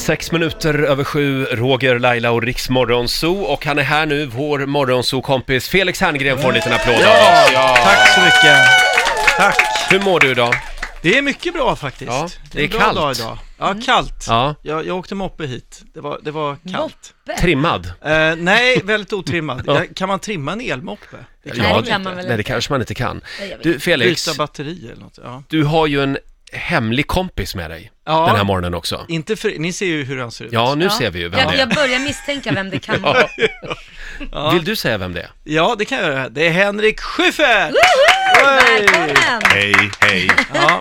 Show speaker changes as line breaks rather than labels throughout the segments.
Sex minuter över sju, Roger, Laila och Riks Morgonzoo. Och han är här nu, vår Morgonzoo-kompis Felix Herngren får en liten applåd av oss.
Tack så mycket. Tack.
Hur mår du idag?
Det är mycket bra faktiskt.
Ja, det är
en bra
kallt.
Dag idag. Ja,
Mm.
kallt.
Ja,
Jag, jag åkte moppe hit. Det var, det var kallt.
trimmad.
Eh, nej, väldigt otrimmad.
Ja.
Ja, Kan man trimma en elmoppe? Det
Nej,
Ja,
det kan man väl
Nej, det
inte.
kanske man inte kan.
Nej, jag vet.
Du, Felix,
Byta batteri eller något. Ja.
du har ju en hemlig kompis med dig
Ja.
den här morgonen också.
Inte för, ni ser ju hur han ser ut.
Ja, nu
Ja.
ser vi ju vem
jag,
det
jag
är.
börjar misstänka vem det kan vara.
Ja.
Vill du säga vem det är?
Ja, det kan jag göra. Det är Henrik Schyffert!
Välkommen!
Hej, hej.
Ja,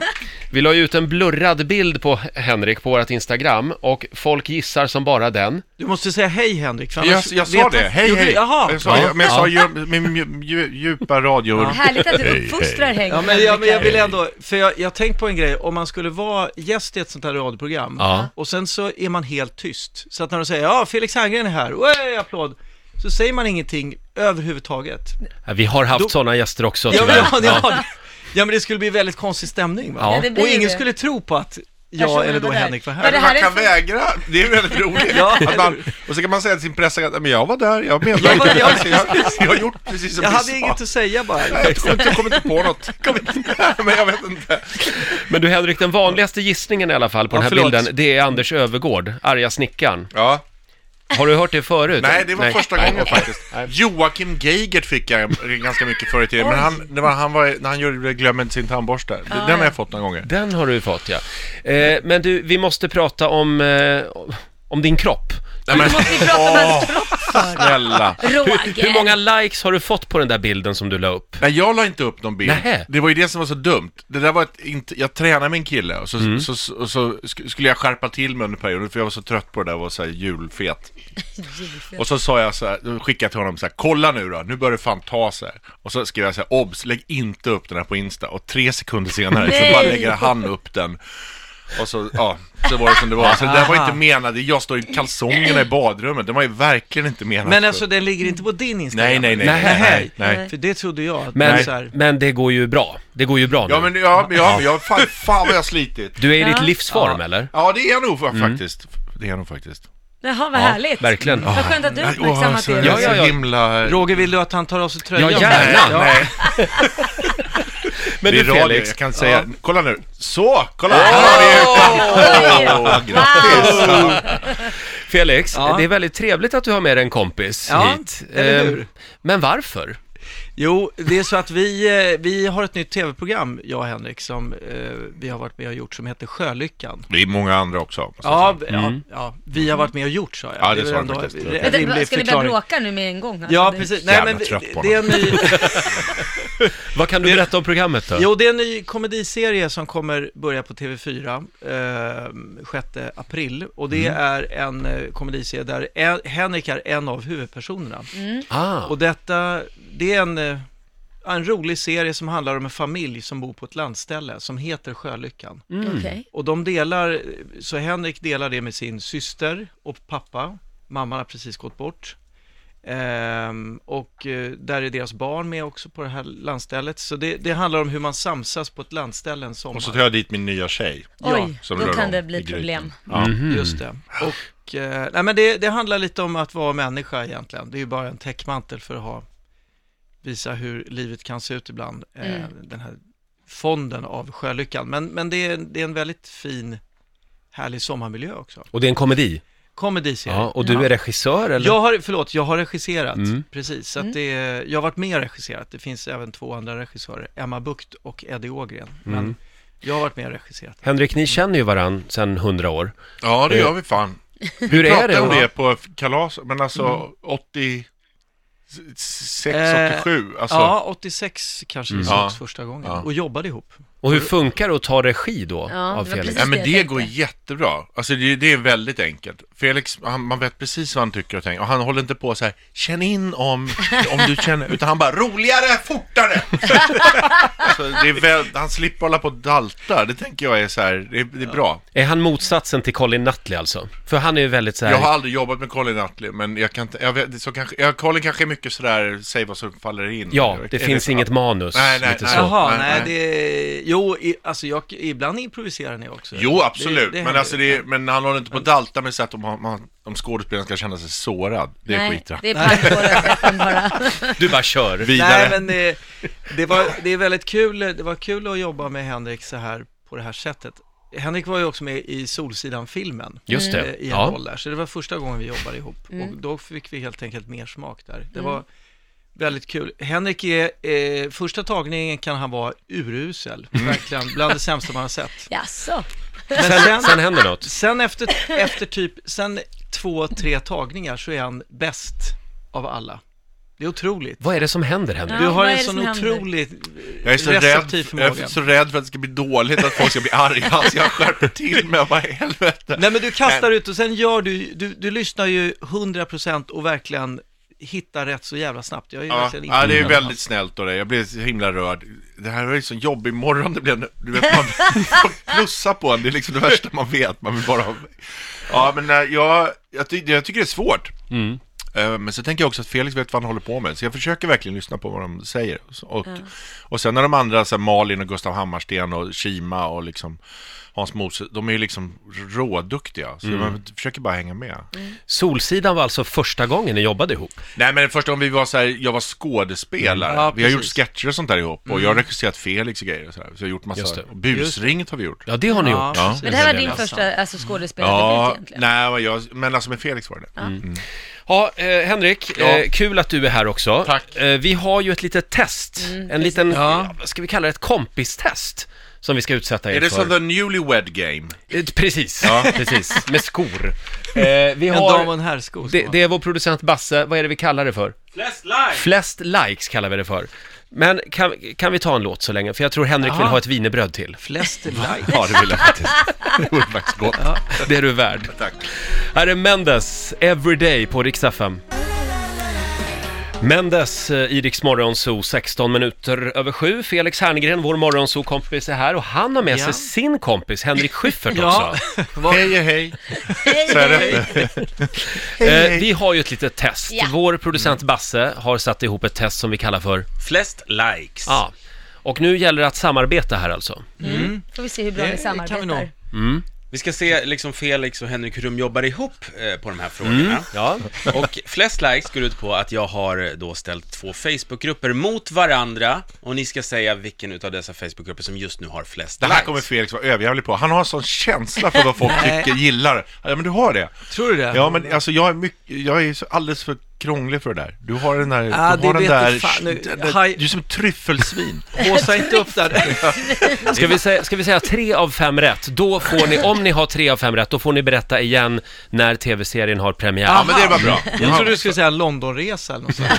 Vi la ju ut en blurrad bild på Henrik på vårt Instagram och folk gissar som bara den.
du måste säga hej Henrik. för
Jag,
annars
jag
vet
sa
man-
det, hej
Gjorde du-
hej.
Jaha.
Jag sa,
Ja.
men jag sa ju, med mju- mju- djupa radior.
Ja.
Härligt att
Hej,
du uppfostrar
hej.
Henk.
Ja, men jag, men jag vill ändå, för jag, jag har tänkt på en grej, om man skulle vara gäst i ett sånt här radioprogram
Ja.
och sen så är man helt tyst. Så att när de säger ja, Felix Herngren är här, Oj, applåd, så säger man ingenting överhuvudtaget.
Ja, Vi har haft
Då-
sådana gäster också
Ja, men,
tyvärr.
ja, ja. Det, ja, men det skulle bli väldigt konstig stämning va?
Ja. Ja,
det blir
och ingen
det.
skulle tro på att jag
Personen
eller då
var där.
Henrik var
Var
här.
det här
Man
är
kan
för-
vägra, det är väldigt roligt.
Ja,
Att man, och så kan man säga till sin presssekreterare, men jag var där, jag medverkade.
Jag var-
Jag,
jag-
Alltså, jag, jag, har gjort precis som
Jag
du
hade
sa.
inget att säga bara.
Nej, Jag tror inte, jag kom inte på något. Kom inte, men jag vet inte.
Men du Henrik, den vanligaste gissningen i alla fall på
Ja,
den här
förlåt.
bilden, det är Anders Övergård, arga snickaren.
Ja.
Har du hört det förut?
Nej, det var första
Nej.
gången faktiskt. Joakim Geigert fick jag ganska mycket förr i tiden, men han, det var, han var, när han gjorde glömde sin tandborste, den har jag fått några gånger.
Den har du fått ja. Eh, men du, vi måste prata om, eh, om din kropp.
Nej, men,
Måste vi prata om hans kropp för?
snälla.
Roger!
Hur många likes har du fått på den där bilden som du la upp?
Nej, jag la inte upp någon bild.
Nähä.
Det var ju det som var så dumt. Det där var ett, inte, jag tränade med en kille och så, så, så, och så sk- skulle jag skärpa till mig under perioden för jag var så trött på det där och var så här julfet. Och så sa jag så här, då skickade jag till honom så här, kolla nu då, nu börjar det fan ta sig. Och så skrev jag så här, obs, lägg inte upp den här på Insta. Och tre sekunder senare så
Nej.
bara lägger han upp den. Och så, ja, så var det som det var. Så det där var inte menade, jag står i kalsongerna i badrummet, det var ju verkligen inte menat
Men
för-
alltså den ligger inte på din Instagram?
Nej, nej, nej,
Nej.
nej, nej, nej.
För det trodde jag. att det var
Men,
så här-
men det går ju bra. Det går ju bra nu.
Ja men ja, men, ja, men jag, fan, fan vad jag har slitit.
Du är i
Ja.
ditt livsform eller?
Ja det är jag nog fa- faktiskt. Det är jag nog faktiskt.
Jaha, vad
Ja,
härligt.
verkligen.
Vad skönt att du
Nej, åh, alltså,
uppmärksammat
så,
det.
Ja, ja, ja.
så himla...
Roger, vill du att han tar av sig tröjan?
Ja, gärna.
Ja.
Nej,
Men
det
du
är radio,
Felix,
jag kan säga, kolla nu. Så, kolla! Här har vi
Oj.
utan- Åh, grattis! Ja.
Felix
Ja.
det är väldigt trevligt att du har med dig en kompis
Ja,
hit.
eller
Eh,
hur?
Men varför?
Jo, det är så att vi, eh, vi har ett nytt tv-program, jag och Henrik, som eh, vi har varit med och gjort, som heter Sjölyckan.
Det är många andra också.
Ja, b- ja, ja, vi har varit med och gjort, sa jag.
mm. Ja, det
är
sa
väl
du faktiskt.
en
Vänta,
Vänta,
rimlig
Ska ni börja
förklaring.
bråka nu med en gång? alltså?
Ja,
Det-
precis. Nej,
Jävla
men
trött på
det är en ny,
Vad kan du berätta om programmet då?
jo, det är en ny komediserie som kommer börja på TV4 eh, 6 april. Och det
Mm.
är en eh, komediserie där en, Henrik är en av huvudpersonerna.
Ah.
Och detta, det är en, eh, en rolig serie som handlar om en familj som bor på ett landställe som heter Sjölyckan.
Mm. Okej.
Och de delar, så Henrik delar det med sin syster och pappa. Mamman har precis gått bort. Ehm, och eh, där är deras barn med också på det här landstället. Så det, det handlar om hur man samsas på ett landställe en sommar.
Och så tar jag dit min nya tjej.
Oj,
som rör
då
om
kan det
i
bli
grytan.
problem.
Mm.
Ja.
Mhm.
Just det. Och, eh, nej men det, det handlar lite om att vara människa egentligen. Det är ju bara en täckmantel för att ha, visa hur livet kan se ut ibland. Eh, Den här fonden av sjölyckan. Men, men det, är, det är en väldigt fin, härlig sommarmiljö också.
Och det är en komedi?
Komediserie.
Ja, och du är Mm. regissör eller?
Jag har, förlåt, jag har regisserat, precis. Så att det, är- jag har varit med och regisserat. Det finns även två andra regissörer, Emma Bukt och Eddie Ågren. Men
Mm.
jag har varit med och regisserat.
Henrik, ni känner ju varann sedan hundra år.
ja, det gör vi fan.
Hur är
Pratade
det?
om
va?
det på kalas, men alltså 86,
Eh,
87, alltså.
Ja, 86 kanske
Mm.
vi
Ja.
sågs första gången
Ja.
och jobbade ihop.
Och hur funkar det att ta regi då
Ja,
av
det var
Felix?
precis-
Ja, men
jag
det
tänkte.
går jättebra. Alltså det, det är väldigt enkelt. Felix, han, man vet precis vad han tycker och tänker. Och han håller inte på så här, känn in om, om du känner, utan han bara, roligare, fortare! alltså, det är väl, han slipper hålla på och dalta. Det tänker jag är så här, det, är- det är bra.
Är han motsatsen till Colin Nutley alltså? För han är ju väldigt så här...
Jag har aldrig jobbat med Colin Nutley, men jag kan inte, jag vet, så kanske, jag, Colin kanske är mycket sådär, säg vad som faller in.
Ja, det
Är
finns
så?
inget manus.
Nej, nej,
lite
nej.
så.
Jaha,
Nej,
nej,
nej.
det... Jo, i, alltså jag, ibland improviserar ni också.
Jo, absolut.
Det- det
men,
händer
alltså,
ju.
det är, men han håller inte på att dalta med så att om, han- man- om skådespelaren ska känna sig sårad. Det är
Nej,
skitbra.
det är pang på rödbetan bara.
Du bara kör.
Vidare.
Nej, men det, det, var, det är väldigt kul, det var kul att jobba med Henrik så här, på det här sättet. Henrik var ju också med i Solsidan-filmen.
Just det,
eh, I en
ja.
roll där, så det var första gången vi jobbade ihop. Och då fick vi helt enkelt mer smak där. Det var väldigt kul. Henrik är, eh, första tagningen kan han vara urusel. Verkligen, bland det sämsta man har sett.
Jaså?
Men sen,
Sen händer något.
sen efter, efter typ, sen två, tre tagningar så är han bäst av alla. Det är otroligt.
Vad är det som händer Henrik?
Du
Ja,
har
vad är
en
det
sån
som händer?
otrolig
Jag är, så rädd,
receptiv
jag
förmåga.
är så rädd för att det ska bli dåligt, att folk ska bli arga, så jag skärper till mig. Jag bara, helvete.
Nej men du kastar ut och sen gör du, du, du lyssnar ju 100% och verkligen hittar rätt så jävla snabbt. Jag är ju
Ja,
verkligen
ja, det är
imponerad.
väldigt snällt av dig. Jag blev så himla rörd. Det här var ju sån jobbig morgon det blev. nu. Du vet, man får plussa på en. Det är liksom det värsta man vet. Man vill bara ha... Ja, men eh, jag, jag, ty- jag tycker det är svårt. Eh, Men så tänker jag också att Felix vet vad han håller på med. Så jag försöker verkligen lyssna på vad de säger. Så- Och, och sen när de andra, så här Malin och Gustav Hammarsten och Kima och liksom Hans Mose, de är ju liksom råduktiga. Så man försöker bara hänga med.
Solsidan var alltså första gången ni jobbade ihop.
Nej men först om vi var så här, jag var skådespelare.
Mm. Ja,
vi har gjort
precis. Mm.
sketcher och sånt där ihop. Och jag har regisserat Felix och grejer och så här. Så jag har gjort
Just det.
massa, och busringet har vi gjort.
Ja, det har ni
Ja,
gjort.
precis.
Men det här var
Ja.
din första alltså, skådespelardebut
Ja,
egentligen?
nej men jag, men alltså med Felix var det det.
Ja, eh, Henrik,
Ja.
Eh, kul att du är här också.
Tack.
Eh, vi har ju ett litet test, en liten,
Ja.
ja. vad ska vi kalla det, ett kompistest som vi ska utsätta er
Är det
för.
som the newlywed game?
Eh, Precis, precis, med skor. Eh, vi
En dam och
har...
en herrsko.
Det, det är vår producent Basse, vad är det vi kallar det för?
Flest live!
Flest likes kallar vi det för. Men kan, kan vi ta en låt så länge? För jag tror Henrik
Jaha.
vill ha ett wienerbröd till.
Flest like.
Ja det vill jag faktiskt. Det vore faktiskt gott.
Det är du värd.
Tack.
Här är Mendes, Everyday på Rix FM. Mendes eh, i Rix Morgonzoo, 16 minuter över sju. Felix Herngren, vår morgonzoo-kompis är här och han har med
Ja.
sig sin kompis Henrik Schyffert
Ja,
också.
vad,
Hej hej.
Hej,
Så är
hej.
det.
Eh, vi har ju ett litet test.
Ja.
Vår producent Basse har satt ihop ett test som vi kallar för...
Flest likes.
Ja. Och nu gäller det att samarbeta här alltså.
Får vi se hur bra
Det
ni
kan vi nog.
samarbetar.
Vi ska se liksom Felix och Henrik hur de jobbar ihop eh, på de här frågorna.
Ja.
Och flest likes går ut på att jag har eh, då ställt två Facebookgrupper mot varandra och ni ska säga vilken utav dessa Facebookgrupper som just nu har flest
Det här
likes.
kommer Felix vara överjävlig på. Han har en sån känsla för vad folk
Nej.
tycker, gillar. Ja men du har det.
tror du det?
Ja men alltså jag är, mycket, jag är så alldeles för krånglig för det där. Du har den där,
Ah,
du har den
det vet
där,
du fan. Nu,
den där-
haj- Ah.
du är som ett tryffelsvin.
Blåsa inte upp där.
Ska vi, säga, ska vi säga tre av fem rätt? Då får ni, om ni har tre av fem rätt, då får ni berätta igen när tv-serien har premiär.
Ja, men det var bra.
Jag trodde du skulle säga en Londonresa eller något sånt.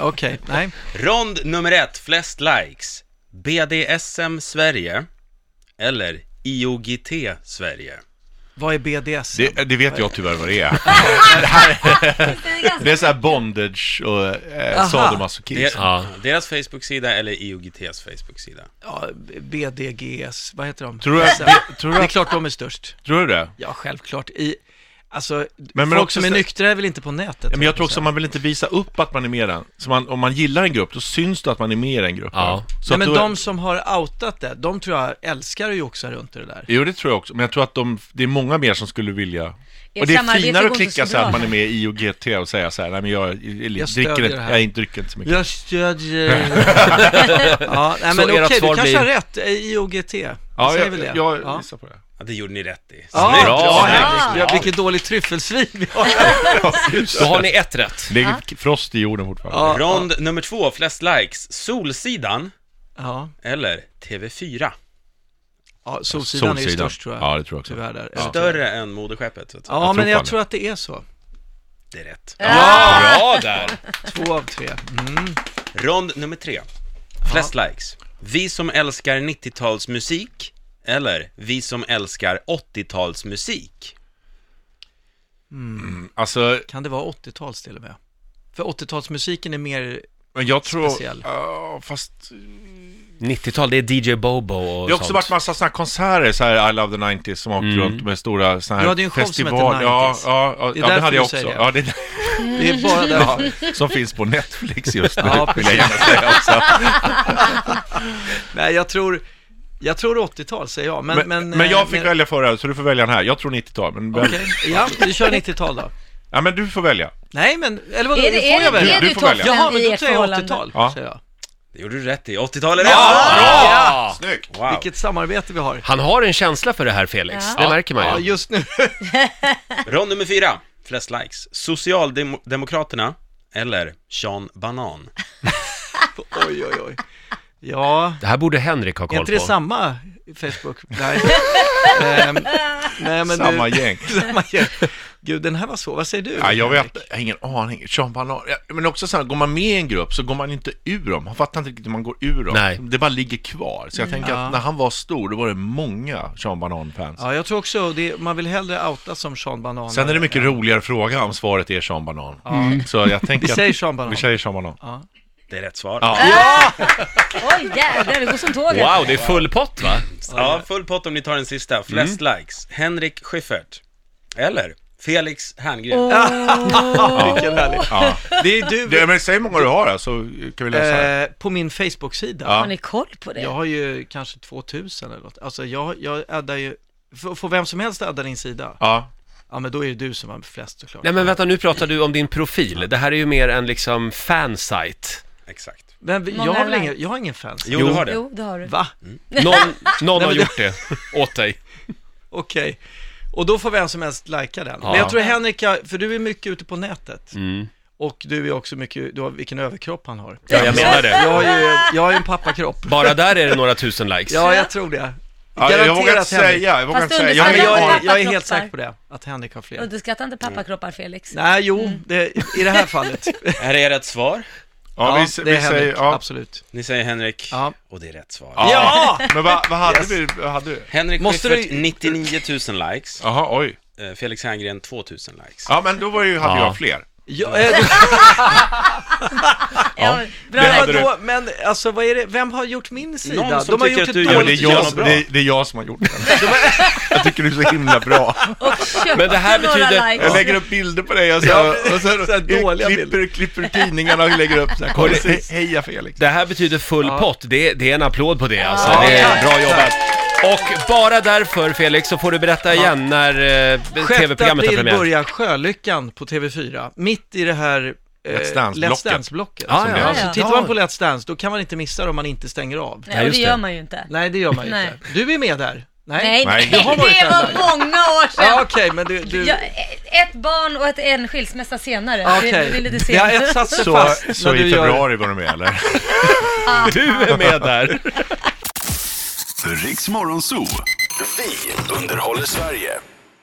Okej, nej.
Rond nummer ett, flest likes. BDSM Sverige eller IOGT Sverige.
Vad är BDS?
Det, det vet jag tyvärr vad det är.
Det är ganska-
Det är så här bondage och eh,
Aha.
Det-
sadomasochism.
Ja.
Deras Facebook-sida eller IOGTs Facebook-sida.
Ja, BDGS, vad heter de?
Tror du,
SM.
det, tror,
Det är
du,
klart de är störst.
tror du det?
Ja, självklart. I, alltså,
men
folk
också
som är
så-
nyktra är väl inte på nätet?
Ja, men jag tror också att man vill inte visa upp att man är med i den. Så man, om man gillar en grupp, då syns det att man är med i den gruppen.
Ja.
Så
Nej,
att
men
då,
de som har outat det, de tror jag älskar att joxa runt i det där.
Jo, det tror jag också. Men jag tror att de, det är många mer som skulle vilja...
Ert
Och det är
samarbete
finare
går
att
inte
klicka
så
så här att
bra.
man är med i IOGT och säga så här, nej men jag, jag,
Jag stödjer
dricker
det
inte,
här.
jag dricker inte så mycket.
Jag stödjer... ja, nej, men
Så
okej,
ert
du
svar
kanske
blir-
har rätt. eh, IOGT. Vi
Ja,
säger
jag,
väl det?
jag,
ja.
gissar på det.
Ja, det gjorde ni rätt i.
Ja,
Snyggt.
bra,
Ja,
Henrik. Ja, vilket dåligt tryffelsvin vi har.
Då har ni ett rätt.
Det är frost i jorden fortfarande.
Ja, ja,
Rond nummer två, flest likes. Solsidan
ja,
eller TV4?
ja, Solsidan är ju
Solsidan.
störst tror jag.
Ja, det tror jag också.
Tyvärr där.
Större än moderskeppet. Så att
Ja,
Jag tror
men jag
fan det.
tror att det är så.
Det är rätt.
Ja, bra där!
Två av tre. Mm.
Rond nummer tre. Flest likes. Vi som älskar 90-talsmusik eller vi som älskar 80-talsmusik?
Alltså,
Kan det vara 80-tals till och med? För 80-talsmusiken är mer,
men jag tror...
Speciell.
Ja, fast
90-tal, det är DJ Bobo och
Det har också
sånt. Mm.
varit massa sådana här konserter, så här I Love the 90s, som har åkt runt med stora såna här
Du hade ju en show som hette
festivaler. Ja,
90s.
ja, ja,
Det
det,
är
ja, det
därför
hade jag
du
också.
säger det.
Ja, det är,
det är bara där.
ja, som finns på Netflix just nu,
Ja,
vill jag gärna säga också.
Nej, jag tror, jag tror 80-tal säger jag, men... eh,
Men, men, jag fick välja förra, så du får välja den här. Jag tror 90-tal, men,
Okej,
väl-
ja, du kör 90-tal då.
ja, men du får välja.
Nej, men, eller vadå,
Är det,
får jag
är det,
välja?
är
Du
det
får välja.
toppen
Jaha, men
i
då
ert
tar jag
förhållande?
80-tal,
Ja.
säger jag.
Det gjorde du rätt i. 80-tal är rätt! Ja!
Ja!
Snyggt!
Wow.
Vilket samarbete vi har.
Han har en känsla för det här Felix,
Ja.
det märker man ju.
Ja, just nu.
Rond nummer fyra, flest likes. Socialdemokraterna eller Sean Banan?
oj, oj, oj. Ja,
Det här borde Henrik ha
är
koll
inte det
på.
samma Facebook? Nej. Ehm, nej, men
Samma
du,
gäng.
samma gäng. Gud, den här var svår. Vad säger du?
Ja, jag
Henrik?
vet, jag har ingen aning. Sean Banan. Ja, Men också så här, går man med i en grupp så går man inte ur dem. Man fattar inte riktigt hur man går ur dem.
Nej.
Det bara ligger kvar. Så jag tänker
Mm, Ja.
att när han var stor, då var det många Sean Banan-fans.
Ja, jag tror också det, man vill hellre outa som Sean Banan.
Sen är det mycket roligare fråga om svaret är Sean Banan. Så jag tänker
Mm. Vi säger Sean Banan.
Vi säger Sean Banan.
Det är rätt svar.
Ja.
Oj jädrar, det går som tåget.
Wow, det är full pott va?
Ja, full pott om ni tar den sista. Flest likes. Henrik Schiffert. Eller Felix Herngren.
Vilken härlig.
Ja.
Det är du.
Det, men säg hur många du har då, så kan vi läsa. här.
eh, på min Facebook-sida.
Ja.
Har ni koll på det?
Jag har ju kanske 2000 eller något. Alltså jag, jag addar ju, får får vem som helst adda din sida?
Ja.
Ja men då är det du som har flest såklart.
Nej men vänta, nu pratar du om din profil. Det här är ju mer en liksom fansite.
Exakt.
Men vi-
Många
jag har, väl
like.
ingen, jag har ingen fans.
Jo,
Jo.
du har det.
Jo, det har du.
Va?
Någon, någon
men
har
det-
gjort det åt dig.
Okej. Och då får vem som helst lajka den. Men
Ja.
jag tror Henrik, har- för du är mycket ute på nätet. Och du är också mycket, du har, vilken överkropp han har.
Ja, jag menar
Jag
det.
har ju, jag har ju en pappakropp.
Bara där är det några tusen likes.
Ja, jag tror det.
Ja, jag
Garanterat
vågar inte
Henrik.
säga. Jag vågar
Fast
inte säga. Jag har
Men
underskattad
ingen
jag,
Alla
är,
aning.
jag är helt
pappakroppar.
säker på det, att Henrik har fler.
Underskatta inte pappakroppar Felix.
Nej, jo,
Mm.
det, i det här fallet.
Här är rätt svar.
Ja, vi, s-
det är
vi säger...
Henrik,
Ja.
absolut.
Ni säger Henrik.
Ja.
Och det är rätt svar.
Ja!
Men vad, vad hade vi? Vad hade vi?
Henrik
Måste
Schiffert,
du-
99 000 likes.
Jaha, oj.
Eh, Felix Herngren, 2 000 likes.
Ja, men då var ju, hade
Ja.
jag fler.
Ja, eh, du-
Ja, bra
det
men,
hade
räknat.
du.
vadå, men alltså vad är det, vem har gjort min sida?
Någon som
De har
tycker
gjort
att
ett
du
Ja,
gör
men det,
dåligt
är
gör
jag,
något
som-
bra.
det, är- det är jag som har gjort den. Jag tycker du är så himla bra.
Och köpa
Men det här
några
betyder-
likes.
Jag lägger upp bilder på dig och så, och så,
så här dåliga
klipper,
bilder.
klipper tidningarna och lägger upp så här. Kolla,
Precis.
heja Felix.
Det här betyder full pott, det, det är en applåd på det alltså.
Ja,
Det är
tack.
bra jobbat. Och bara därför Felix så får du berätta igen när eh,
6
tv-programmet har
april
premiär.
börjar Sjölyckan på TV4, mitt i det här eh,
Let's Dance-blocket.
Let's Dance-blocket.
Ah, Ja,
som
ja,
det är. alltså,
ja.
Tittar man på Let's Dance, då kan man inte missa det om man inte stänger av.
Nej, och
just
det
det.
gör man ju inte.
Nej, det gör man ju inte. Du är med där?
Nej,
Nej,
det
jag
har varit där,
var
Laila.
många år sedan.
Ja, okej, men du... du...
Jag, ett barn och ett, en skilsmässa senare. Det- Det är
Okej,
lite
det har
senare.
ett satt sig
Så,
fast
så
när
i
du gör-
februari var du med eller?
Du är med där.
Riks Morgonzoo. Vi underhåller Sverige.